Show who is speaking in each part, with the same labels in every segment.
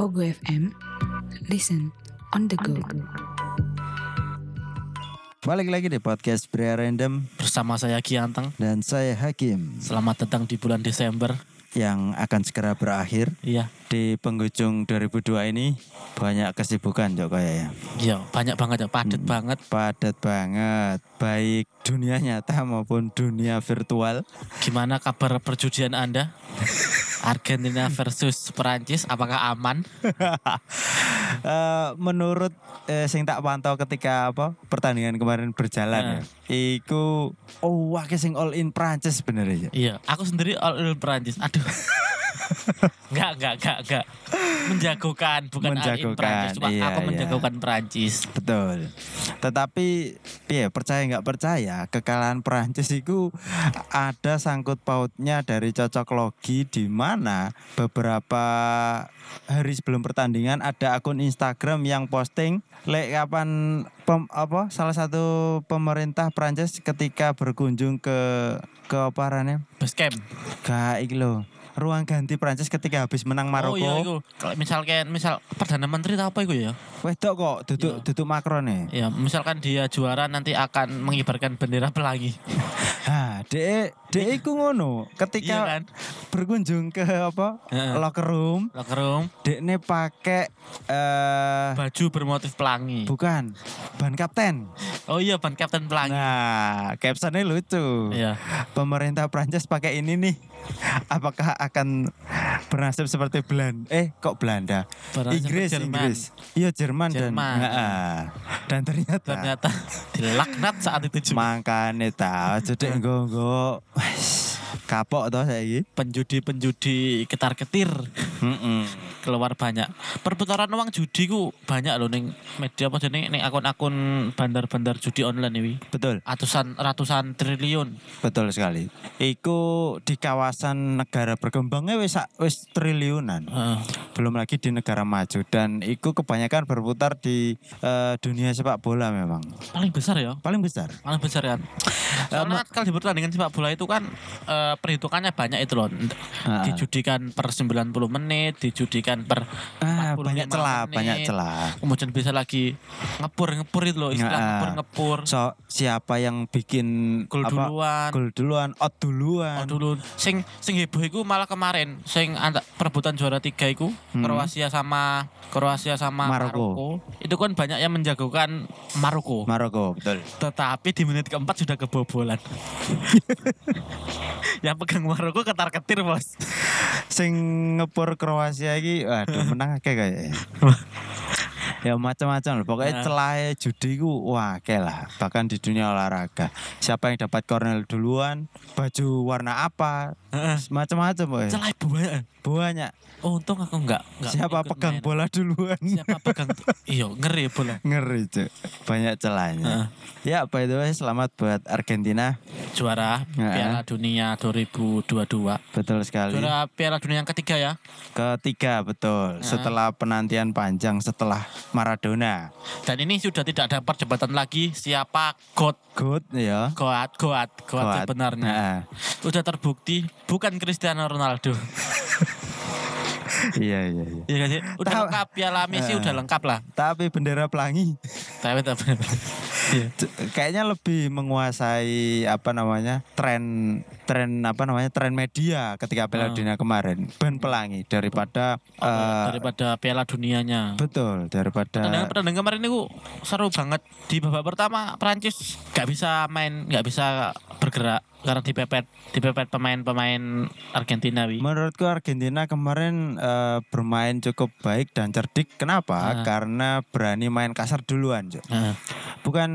Speaker 1: Ogo FM. Listen on the go.
Speaker 2: Balik lagi di podcast Brea Random
Speaker 3: Bersama saya Gianteng.
Speaker 2: dan saya Hakim
Speaker 3: Selamat datang di bulan Desember.
Speaker 2: yang akan segera berakhir
Speaker 3: Iya,
Speaker 2: di penghujung 2002 ini banyak kesibukan Jok kayaknya.
Speaker 3: iya banyak banget ya, padat
Speaker 2: Hmm.
Speaker 3: banget.
Speaker 2: Padat banget, baik dunia nyata maupun dunia virtual.
Speaker 3: Gimana kabar perjudian Anda? Argentina versus Perancis, apakah aman?
Speaker 2: Eh, menurut eh, sing tak pantau ketika apa pertandingan kemarin berjalan, ya, iku oh wah sing all in Prancis bener ya.
Speaker 3: Iya, aku sendiri all in Perancis. Aduh. Enggak, enggak, enggak, enggak. Menjagokan, bukan all in
Speaker 2: Menjagokan,
Speaker 3: Perancis. Cuma
Speaker 2: iya,
Speaker 3: aku
Speaker 2: iya.
Speaker 3: menjagokan Perancis.
Speaker 2: Betul. Tetapi piye percaya nggak percaya kekalahan Prancis itu ada sangkut pautnya dari cocok logi di mana beberapa hari sebelum pertandingan ada akun Instagram yang posting lek kapan pem- apa salah satu pemerintah Prancis ketika berkunjung ke ke oparannya
Speaker 3: Basecamp.
Speaker 2: gak iki lho, ruang ganti Prancis ketika habis menang
Speaker 3: Oh iya,
Speaker 2: Maroko
Speaker 3: itu. Kalau misalkan, misal Perdana Menteri itu apa itu ya?
Speaker 2: wedok kok duduk
Speaker 3: Iya.
Speaker 2: duduk Macron ya
Speaker 3: Ya, misalkan dia juara nanti akan mengibarkan bendera pelangi.
Speaker 2: Nah, dek dek iku ngono. Ketika
Speaker 3: Iya kan?
Speaker 2: berkunjung ke apa?
Speaker 3: Heeh.
Speaker 2: locker room,
Speaker 3: Locker room,
Speaker 2: dekne pakai eh
Speaker 3: baju bermotif pelangi.
Speaker 2: bukan ban kapten.
Speaker 3: Oh iya, ban Kapten Pelangi.
Speaker 2: Nah, captionnya lucu.
Speaker 3: Iya.
Speaker 2: Pemerintah Prancis pakai ini nih. Apakah akan bernasib seperti Belanda? Eh, kok Belanda?
Speaker 3: Bernasib
Speaker 2: Inggris,
Speaker 3: Jerman.
Speaker 2: Inggris. Iya, Jerman,
Speaker 3: Jerman.
Speaker 2: dan Heeh. dan ternyata,
Speaker 3: Ternyata
Speaker 2: Nah.
Speaker 3: dilaknat saat itu juga.
Speaker 2: makane ta aja dek nggo kapok toh saiki.
Speaker 3: Penjudi-penjudi ketar-ketir
Speaker 2: Heeh.
Speaker 3: keluar banyak. Perputaran uang judi ku banyak loh ning media apa jenenge ning akun-akun bandar-bandar judi online ini.
Speaker 2: Betul.
Speaker 3: Ratusan ratusan triliun.
Speaker 2: Betul sekali. Iku di kawasan negara berkembangnya wis sak- wis triliunan.
Speaker 3: Heeh.
Speaker 2: Belum lagi di negara maju dan iku kebanyakan berputar di eh, dunia sepak bola memang.
Speaker 3: paling besar ya.
Speaker 2: Paling besar.
Speaker 3: Paling besar kan. Soalnya kalau di pertandingan sepak bola itu kan eh, perhitungannya banyak itu loh.
Speaker 2: Ah.
Speaker 3: Dijudikan per 90 menit, dijudikan per
Speaker 2: Ah,
Speaker 3: 45
Speaker 2: banyak celah,
Speaker 3: menit.
Speaker 2: banyak celah.
Speaker 3: kemudian bisa lagi ngepur-ngepur itu loh istilah
Speaker 2: Nah,
Speaker 3: ngepur-ngepur
Speaker 2: So, siapa yang bikin
Speaker 3: gol
Speaker 2: apa?
Speaker 3: duluan
Speaker 2: Gol duluan, out duluan.
Speaker 3: gol duluan Nah, sing sing heboh iku malah kemarin sing antak perebutan juara tiga iku
Speaker 2: Hmm.
Speaker 3: Kroasia sama Kroasia sama
Speaker 2: Maroko.
Speaker 3: Maroko. itu kan banyak yang menjagokan Maroko
Speaker 2: Maroko, betul.
Speaker 3: tetapi di menit keempat sudah kebobolan yang pegang Maroko ketar ketir bos
Speaker 2: Sing ngepur Kroasia iki aduh menang akeh kayaknya. ya macam-macam loh. Pokoknya
Speaker 3: Nah.
Speaker 2: celah judi ku wah akeh lah. Bahkan di dunia olahraga. Siapa yang dapat corner duluan, baju warna apa, macam-macam pokoknya.
Speaker 3: celah ibu banyak
Speaker 2: Banyak.
Speaker 3: oh, untung aku enggak, enggak
Speaker 2: Siapa
Speaker 3: ikut
Speaker 2: pegang
Speaker 3: main.
Speaker 2: bola duluan.
Speaker 3: siapa pegang iyo ngeri bola
Speaker 2: Ngeri Cuk. Banyak
Speaker 3: Nah.
Speaker 2: celahnya. Ya by the way selamat buat Argentina.
Speaker 3: juara
Speaker 2: Heeh.
Speaker 3: Piala Dunia 2022
Speaker 2: Betul sekali.
Speaker 3: Juara Nah. Piala Dunia yang ketiga ya.
Speaker 2: Ketiga betul. Setelah penantian panjang setelah Maradona.
Speaker 3: Dan ini sudah tidak ada perdebatan lagi siapa God,
Speaker 2: Good ya.
Speaker 3: God, God, God,
Speaker 2: Kuat.
Speaker 3: sebenarnya.
Speaker 2: Nah,
Speaker 3: Sudah terbukti bukan Cristiano Ronaldo.
Speaker 2: iya iya iya.
Speaker 3: Iya kan sih?
Speaker 2: Tahu.
Speaker 3: Udah
Speaker 2: Nah.
Speaker 3: lengkap Piala Messi
Speaker 2: Heeh.
Speaker 3: udah lengkap lah.
Speaker 2: Tapi bendera pelangi
Speaker 3: Tapi tapi- Iya.
Speaker 2: c- kayaknya lebih menguasai apa namanya tren tren apa namanya tren media ketika Piala
Speaker 3: Ah.
Speaker 2: Dunia kemarin band pelangi daripada eh, Nah.
Speaker 3: daripada Piala Dunianya.
Speaker 2: betul
Speaker 3: Pertandingan
Speaker 2: daripada
Speaker 3: pertandingan kemarin itu seru banget di babak pertama Prancis nggak bisa main nggak bisa bergerak karena dipepet dipepet pemain-pemain Argentina wi.
Speaker 2: menurutku Argentina kemarin eh, bermain cukup baik dan cerdik kenapa
Speaker 3: Ah.
Speaker 2: karena berani main kasar duluan Cuk.
Speaker 3: Nah,
Speaker 2: bukan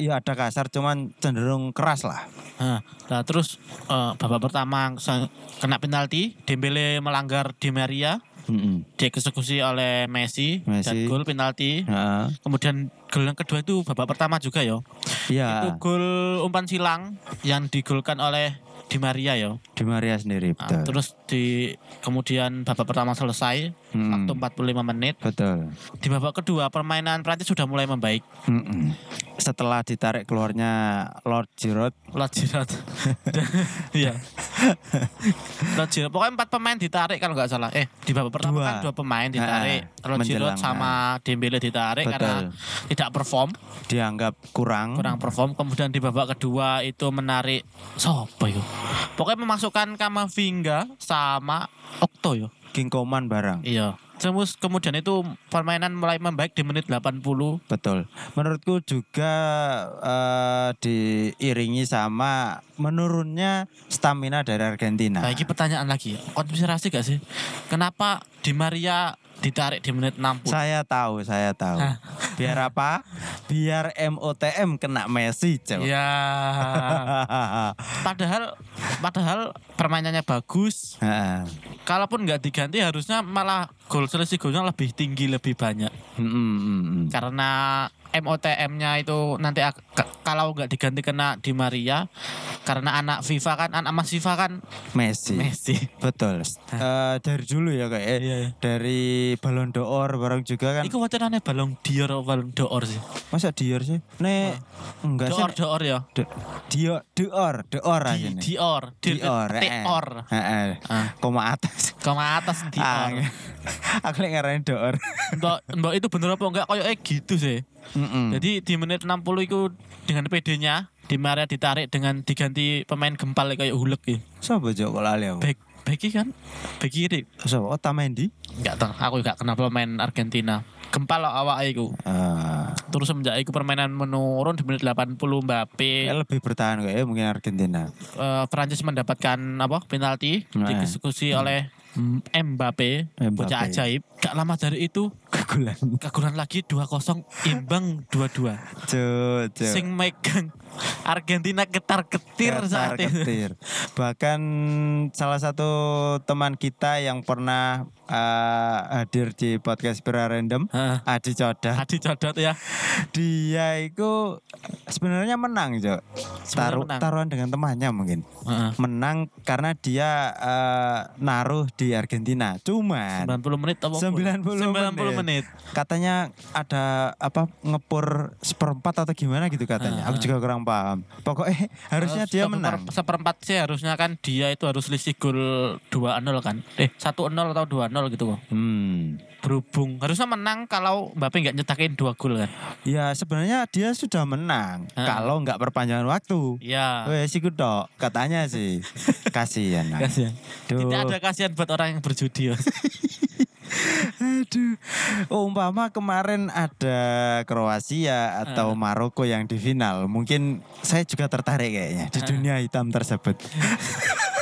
Speaker 2: ya ada kasar cuman cenderung keras lah
Speaker 3: Nah, nah, terus eh, babak pertama se- kena penalti, Dembele melanggar Di Maria,
Speaker 2: Mm-mm.
Speaker 3: dieksekusi oleh Messi, dan
Speaker 2: Messi.
Speaker 3: gol penalti.
Speaker 2: Heeh.
Speaker 3: Kemudian gol yang kedua itu babak pertama juga yo. Itu
Speaker 2: Iya,
Speaker 3: gol umpan silang yang digolkan oleh Di Maria yo.
Speaker 2: Di Maria sendiri
Speaker 3: Nah,
Speaker 2: betul.
Speaker 3: terus di kemudian babak pertama selesai
Speaker 2: Hmm.
Speaker 3: waktu 45 menit.
Speaker 2: Betul.
Speaker 3: Di babak kedua permainan Prancis sudah mulai membaik.
Speaker 2: Mm-mm. Setelah ditarik keluarnya Lord Giroud
Speaker 3: Lord Giroud. Iya. Rojiro. Pokoknya empat pemain ditarik kalau nggak salah. Eh di babak pertama
Speaker 2: Dua.
Speaker 3: kan dua pemain ditarik.
Speaker 2: Ah,
Speaker 3: Rojiro
Speaker 2: menjelang,
Speaker 3: sama Dembele ditarik
Speaker 2: Betul.
Speaker 3: karena tidak perform,
Speaker 2: Dianggap kurang.
Speaker 3: kurang perform. Kemudian di babak kedua itu menarik sopo yo. Pokoknya memasukkan Kamavinga sama Okto yo.
Speaker 2: Kingkoman barang.
Speaker 3: Iya. Terus kemudian itu permainan mulai membaik di menit 80.
Speaker 2: Betul. Menurutku juga eh, diiringi sama menurunnya stamina dari Argentina.
Speaker 3: Nah, ini pertanyaan lagi. Konspirasi gak sih? Kenapa Di Maria ditarik di menit 60?
Speaker 2: Saya tahu, saya tahu.
Speaker 3: Hah.
Speaker 2: Biar apa? Biar MOTM kena Messi, coba.
Speaker 3: Ya. padahal padahal permainannya bagus.
Speaker 2: Heeh.
Speaker 3: Kalaupun nggak diganti harusnya malah gol selisih golnya lebih tinggi lebih banyak.
Speaker 2: Mm, mm, mm, mm.
Speaker 3: Karena MOTM-nya itu nanti ak- k- kalau nggak diganti kena Di Maria karena anak FIFA kan anak Mas FIFA kan
Speaker 2: Messi.
Speaker 3: Messi.
Speaker 2: Betul. Eh, dari dulu ya kayak eh,
Speaker 3: Iya, iya.
Speaker 2: dari Ballon d'Or bareng juga kan.
Speaker 3: Iku wacanane balong Dior apa balong Door sih.
Speaker 2: Masa Dior sih? Nek
Speaker 3: Nah,
Speaker 2: enggak sih.
Speaker 3: Door Door ya.
Speaker 2: D- Dior, Dior, Dior aja
Speaker 3: Di,
Speaker 2: nih.
Speaker 3: Dior, Dior,
Speaker 2: Dior, eh.
Speaker 3: Dior.
Speaker 2: Heeh.
Speaker 3: Ah.
Speaker 2: Koma atas.
Speaker 3: Koma atas
Speaker 2: Ah,
Speaker 3: Dior.
Speaker 2: Aku lagi ngarahin Dior.
Speaker 3: Mbak, mbak itu bener apa enggak? Kayaknya gitu sih.
Speaker 2: Mm-mm.
Speaker 3: Jadi di menit 60 itu dengan PD-nya di Maria ditarik dengan diganti pemain gempal kayak hulek ya.
Speaker 2: Sopo Joko lali aku?
Speaker 3: Back back kiri kan? Back kiri.
Speaker 2: Sopo Otamendi?
Speaker 3: Enggak tahu, aku enggak kenal pemain Argentina. Gempal lah awak iku.
Speaker 2: Eh,
Speaker 3: Terus semenjak iku permainan menurun di menit 80
Speaker 2: ya
Speaker 3: Mbappe
Speaker 2: lebih bertahan kayak mungkin Argentina.
Speaker 3: eh, Prancis mendapatkan apa? penalti
Speaker 2: Nah.
Speaker 3: didiskusi oleh Mbappe,
Speaker 2: Mbappe.
Speaker 3: bocah ajaib. Gak lama dari itu
Speaker 2: Kegulan.
Speaker 3: kegulan lagi 2-0 imbang 2-2.
Speaker 2: Cuk, cuk.
Speaker 3: Sing megang Argentina ketar-ketir saat itu.
Speaker 2: ketir. Bahkan salah satu teman kita yang pernah eh, hadir di podcast Pira Random,
Speaker 3: Heeh.
Speaker 2: Adi Coda,
Speaker 3: Tadi codot ya.
Speaker 2: dia itu sebenarnya menang, Jok. Taruh
Speaker 3: menang.
Speaker 2: taruhan dengan temannya mungkin.
Speaker 3: Heeh.
Speaker 2: Menang karena dia eh, naruh di Argentina. Cuman
Speaker 3: 90 menit apa?
Speaker 2: 90 menit.
Speaker 3: 90 menit.
Speaker 2: katanya ada apa ngepur seperempat atau gimana gitu katanya. Aku juga kurang paham. Pokoknya harusnya dia
Speaker 3: Seper-
Speaker 2: menang.
Speaker 3: Seperempat sih harusnya kan dia itu harus selisih gol 2-0 kan. Eh 1-0 atau 2-0 gitu kok.
Speaker 2: Hmm.
Speaker 3: Berhubung harusnya menang kalau Mbappe nggak nyetakin 2 gol kan.
Speaker 2: Ya sebenarnya dia sudah menang
Speaker 3: Heeh.
Speaker 2: kalau nggak perpanjangan waktu.
Speaker 3: Iya.
Speaker 2: Wes iku tok, katanya sih. Kasihan. Nang.
Speaker 3: Kasihan.
Speaker 2: Duh.
Speaker 3: Tidak ada kasihan buat orang yang berjudi. Mas.
Speaker 2: Aduh. Oh, Umpama kemarin ada Kroasia atau Maroko yang di final, mungkin saya juga tertarik kayaknya di dunia hitam tersebut.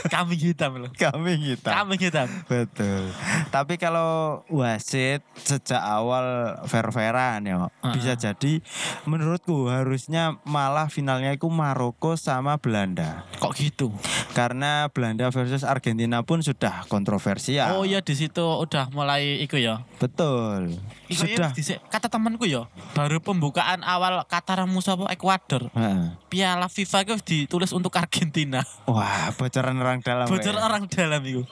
Speaker 3: Kambing hitam loh.
Speaker 2: Kami hitam.
Speaker 3: Kambing hitam.
Speaker 2: Betul. Tapi kalau wasit sejak awal fair-fairan ya, bisa jadi menurutku harusnya malah finalnya itu Maroko sama Belanda.
Speaker 3: Kok gitu?
Speaker 2: Karena Belanda versus Argentina pun sudah kontroversial.
Speaker 3: Oh iya di situ udah mulai iku ya.
Speaker 2: Betul.
Speaker 3: Iku
Speaker 2: sudah.
Speaker 3: ya dhisik. kata temanku ya, baru pembukaan awal Qatar musuh apa Ekuador.
Speaker 2: Heeh.
Speaker 3: Piala FIFA itu ditulis untuk Argentina.
Speaker 2: Wah, bocoran orang dalam. ya.
Speaker 3: Bocor
Speaker 2: weh.
Speaker 3: orang dalam itu.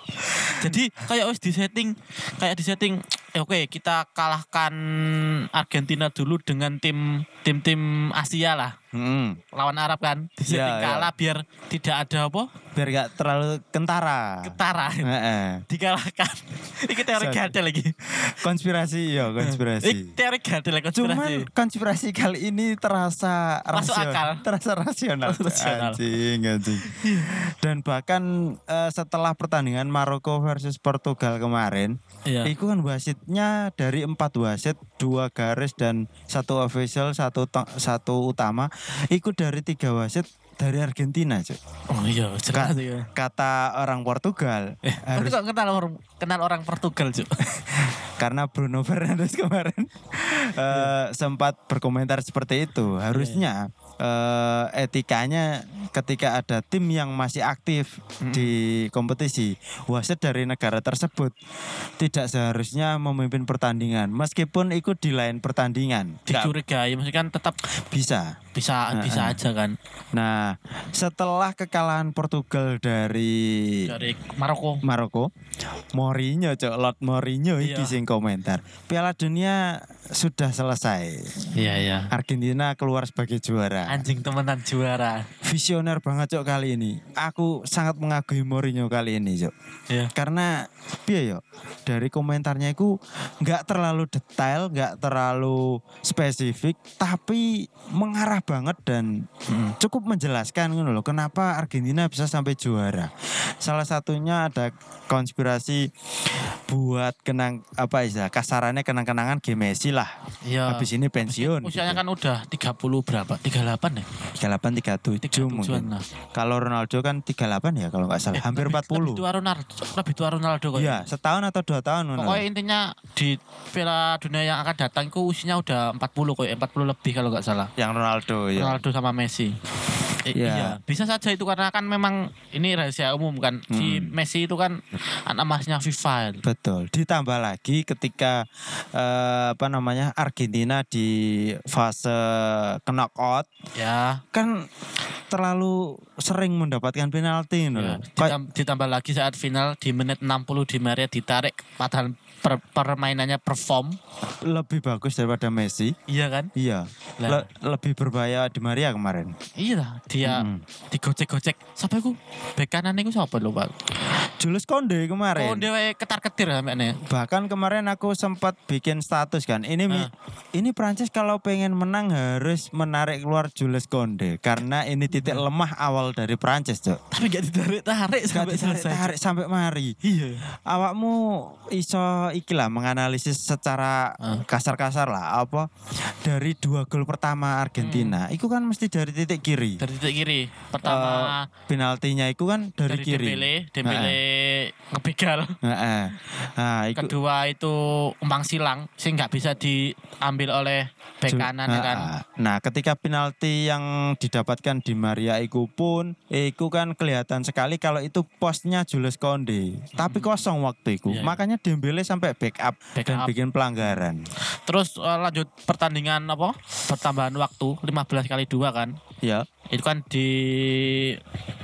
Speaker 3: Jadi kayak wis disetting, kayak disetting. eh, Oke, kita kalahkan Argentina dulu dengan tim tim tim Asia lah
Speaker 2: Mm-mm.
Speaker 3: lawan Arab kan. Disetting
Speaker 2: Ya, ya. Ah.
Speaker 3: kalah biar tidak ada apa
Speaker 2: Biar gak terlalu kentara.
Speaker 3: ketara.
Speaker 2: Heeh.
Speaker 3: Dikalahkan. Ini teori
Speaker 2: Sorry.
Speaker 3: gadel lagi.
Speaker 2: Konspirasi ya,
Speaker 3: Ini
Speaker 2: konspirasi.
Speaker 3: teori gadel konspirasi.
Speaker 2: Cuman konspirasi kali ini terasa
Speaker 3: Masuk
Speaker 2: rasional,
Speaker 3: akal.
Speaker 2: terasa rasional,
Speaker 3: Rasional.
Speaker 2: anjing, anjing. Dan bahkan eh, setelah pertandingan Maroko versus Portugal kemarin,
Speaker 3: Iya.
Speaker 2: Iku kan wasitnya dari empat wasit, dua garis dan satu official, satu to- satu utama. Iku dari tiga wasit dari Argentina, Cuk.
Speaker 3: Oh iya,
Speaker 2: Ka-
Speaker 3: jelas iya.
Speaker 2: kata orang Portugal
Speaker 3: Tapi
Speaker 2: harus
Speaker 3: kok kenal orang kenal orang Portugal, Cuk?
Speaker 2: karena Bruno Fernandes kemarin eh, sempat berkomentar seperti itu. Harusnya eh, etikanya ketika ada tim yang masih aktif di kompetisi, wasit dari negara tersebut tidak seharusnya memimpin pertandingan meskipun ikut di lain pertandingan. Nggak
Speaker 3: Dicurigai, maksudnya kan tetap
Speaker 2: bisa.
Speaker 3: bisa
Speaker 2: Heeh.
Speaker 3: bisa aja kan
Speaker 2: Nah, setelah kekalahan Portugal dari
Speaker 3: dari Maroko
Speaker 2: Maroko, Mourinho cok, Lord Mourinho
Speaker 3: Iya.
Speaker 2: iki sing komentar. Piala Dunia sudah selesai.
Speaker 3: iya iya
Speaker 2: Argentina keluar sebagai juara.
Speaker 3: anjing temenan juara
Speaker 2: Visioner banget cok kali ini. Aku sangat mengagumi Mourinho kali ini cok.
Speaker 3: Iya.
Speaker 2: Karena piye yo dari komentarnya itu nggak terlalu detail, nggak terlalu spesifik, tapi mengarah banget dan
Speaker 3: Mm.
Speaker 2: cukup menjelaskan ngono loh kenapa Argentina bisa sampai juara. Salah satunya ada konspirasi buat kenang apa istilah kasarannya kenang-kenangan G Messi lah.
Speaker 3: iya
Speaker 2: Habis ini pensiun. gitu.
Speaker 3: usianya kan udah 30 berapa 38 ya
Speaker 2: 38 37
Speaker 3: 37
Speaker 2: mungkin.
Speaker 3: nah
Speaker 2: Kalau Ronaldo kan 38 ya kalau nggak salah, hampir
Speaker 3: Eh,
Speaker 2: 40.
Speaker 3: lebih tua Ronaldo lebih tua Ronaldo kok ya?
Speaker 2: Iya, setahun atau dua tahun ngono.
Speaker 3: Pokoknya intinya di Piala Dunia yang akan datang itu usianya udah 40 kok, ya, 40 lebih kalau nggak salah.
Speaker 2: Yang Ronaldo ya.
Speaker 3: Ronaldo sama Messi. I-
Speaker 2: Iya.
Speaker 3: Iya, bisa saja itu karena kan memang ini rahasia umum kan. Si
Speaker 2: Hmm.
Speaker 3: Messi itu kan anak emasnya FIFA.
Speaker 2: Betul. Ditambah lagi ketika eh, apa namanya Argentina di fase knockout
Speaker 3: Ya.
Speaker 2: kan terlalu sering mendapatkan penalti
Speaker 3: ya.
Speaker 2: loh. Kayak-
Speaker 3: Ditam- ditambah lagi saat final di menit 60 di Maria ditarik padahal per- permainannya perform.
Speaker 2: lebih bagus daripada Messi.
Speaker 3: Iya kan?
Speaker 2: Iya.
Speaker 3: Lah,
Speaker 2: Le- lebih berbahaya di Maria kemarin.
Speaker 3: iya lah, dia
Speaker 2: Mm.
Speaker 3: digocek-gocek. Sampai ku bek kanan iku sapa lho, Pak?
Speaker 2: Julius Konde kemarin.
Speaker 3: Oh, dia ketar-ketir sampeyan.
Speaker 2: Bahkan kemarin aku sempat bikin status kan. Ini mi-
Speaker 3: Ah.
Speaker 2: ini Prancis kalau pengen menang harus menarik keluar Jules Konde karena ini titik
Speaker 3: Iya.
Speaker 2: lemah awal dari Prancis, Cok.
Speaker 3: tapi gak ditarik-tarik
Speaker 2: Gak
Speaker 3: sampai
Speaker 2: ditarik-
Speaker 3: selesai.
Speaker 2: tarik sampai mari.
Speaker 3: Iya.
Speaker 2: Awakmu iso ikilah menganalisis secara
Speaker 3: Ah.
Speaker 2: kasar-kasar lah apa dari dua gol pertama Argentina.
Speaker 3: Hmm.
Speaker 2: Itu kan mesti dari titik kiri. Eh,
Speaker 3: Dari titik kiri. Pertama
Speaker 2: Penaltinya itu kan dari,
Speaker 3: Eh, dari,
Speaker 2: kiri.
Speaker 3: Dembele, Dembele ngebegal.
Speaker 2: Heeh. Nah, iku-
Speaker 3: Kedua itu umpang silang sing nggak bisa diambil oleh bek
Speaker 2: Ju-
Speaker 3: kanan ya kan.
Speaker 2: Ah, ah. Nah, ketika penalti yang didapatkan di Maria Iku pun, Iku kan kelihatan sekali kalau itu posnya Jules Konde, tapi kosong waktu itu.
Speaker 3: Iya, iya.
Speaker 2: Makanya Dembele sampai backup
Speaker 3: Back
Speaker 2: dan
Speaker 3: up.
Speaker 2: bikin pelanggaran.
Speaker 3: Terus eh, lanjut pertandingan apa? Pertambahan waktu 15 kali 2 kan.
Speaker 2: Ya,
Speaker 3: Itu kan di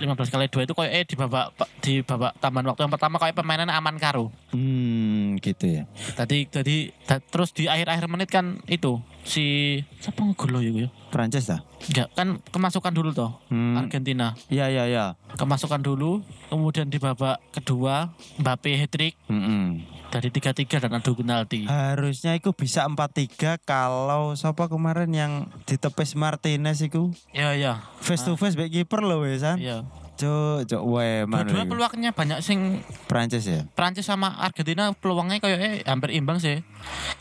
Speaker 3: 15 kali 2 itu kayak eh di babak di babak tambahan waktu yang pertama kayak permainan aman karo.
Speaker 2: hmm, gitu ya.
Speaker 3: Tadi tadi ta- terus di akhir-akhir menit kan itu si siapa ngegol lo ya?
Speaker 2: Prancis lah.
Speaker 3: Enggak, kan kemasukan dulu toh
Speaker 2: Hmm,
Speaker 3: Argentina.
Speaker 2: ya ya ya.
Speaker 3: Kemasukan dulu, kemudian di babak kedua Mbappe hat-trick
Speaker 2: Mm-mm.
Speaker 3: dari 3-3 dan adu penalti.
Speaker 2: Ah. Harusnya Iku bisa 4-3 kalau siapa kemarin yang ditepis Martinez Iku
Speaker 3: Iya, iya.
Speaker 2: face to face back kiper loh wesan.
Speaker 3: Iya.
Speaker 2: Cuk, cuk wae Manuel.
Speaker 3: Dua-dua peluangnya banyak sing
Speaker 2: Prancis ya.
Speaker 3: Prancis sama Argentina peluangnya kayak eh, hampir imbang sih.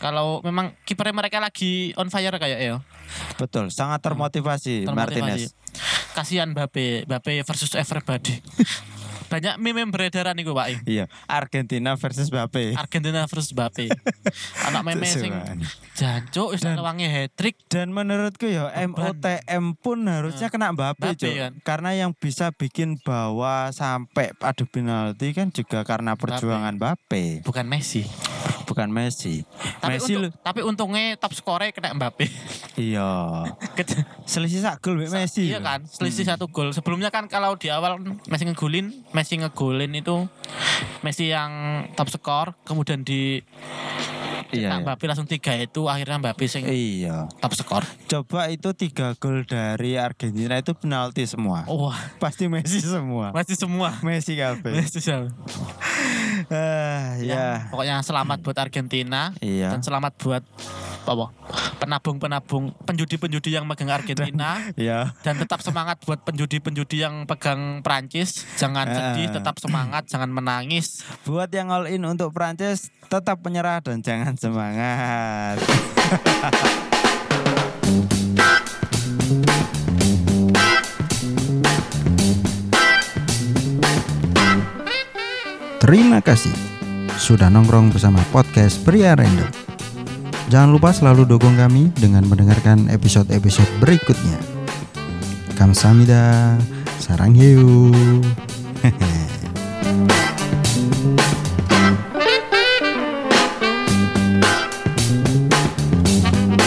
Speaker 3: Kalau memang kipernya mereka lagi on fire kayak ya.
Speaker 2: Betul, sangat termotivasi, Martinez.
Speaker 3: Hmm. termotivasi. Kasihan Mbappe, Mbappe versus everybody. banyak meme yang beredaran nih Pak. Im.
Speaker 2: Iya, Argentina versus Mbappe.
Speaker 3: Argentina versus Mbappe. Anak meme sing
Speaker 2: Susuan.
Speaker 3: jancuk wis wangi hat-trick
Speaker 2: Dan menurutku ya MOTM pun harusnya kena Mbappe,
Speaker 3: Hmm. Mbappe
Speaker 2: Cuk.
Speaker 3: kan.
Speaker 2: Karena yang bisa bikin bawa sampai adu penalti kan juga karena perjuangan Mbappe,
Speaker 3: bukan Messi.
Speaker 2: bukan Messi.
Speaker 3: Tapi
Speaker 2: Messi
Speaker 3: untuk,
Speaker 2: lu-
Speaker 3: tapi untungnya top score kena Mbappe.
Speaker 2: iya.
Speaker 3: Ke-
Speaker 2: Selisih sak gol wek Messi. Hmm.
Speaker 3: Iya
Speaker 2: lho.
Speaker 3: kan, selisih satu gol. Sebelumnya kan kalau di awal Messi ngegolin, Messi ngegolin itu Messi yang top score, kemudian di
Speaker 2: Iya.
Speaker 3: cetak
Speaker 2: iya.
Speaker 3: Mbappe langsung tiga itu akhirnya Mbappe sing
Speaker 2: Iya.
Speaker 3: top score.
Speaker 2: Coba itu tiga gol dari Argentina itu penalti semua.
Speaker 3: Oh, Wah,
Speaker 2: Pasti Messi semua.
Speaker 3: masih semua.
Speaker 2: Messi kabeh.
Speaker 3: Messi semua.
Speaker 2: Ah,
Speaker 3: Ya,
Speaker 2: ya.
Speaker 3: Pokoknya selamat buat Argentina
Speaker 2: Iya.
Speaker 3: dan selamat buat apa? Penabung-penabung, penjudi-penjudi yang megang Argentina.
Speaker 2: Ya.
Speaker 3: dan tetap semangat buat penjudi-penjudi yang pegang Prancis. Jangan
Speaker 2: Eh.
Speaker 3: sedih, tetap semangat, jangan menangis.
Speaker 2: Buat yang all in untuk Prancis, tetap menyerah dan jangan semangat.
Speaker 4: Terima kasih sudah nongkrong bersama podcast Pria Random. Jangan lupa selalu dukung kami dengan mendengarkan episode-episode berikutnya. Kamsahamnida, sarang hiu.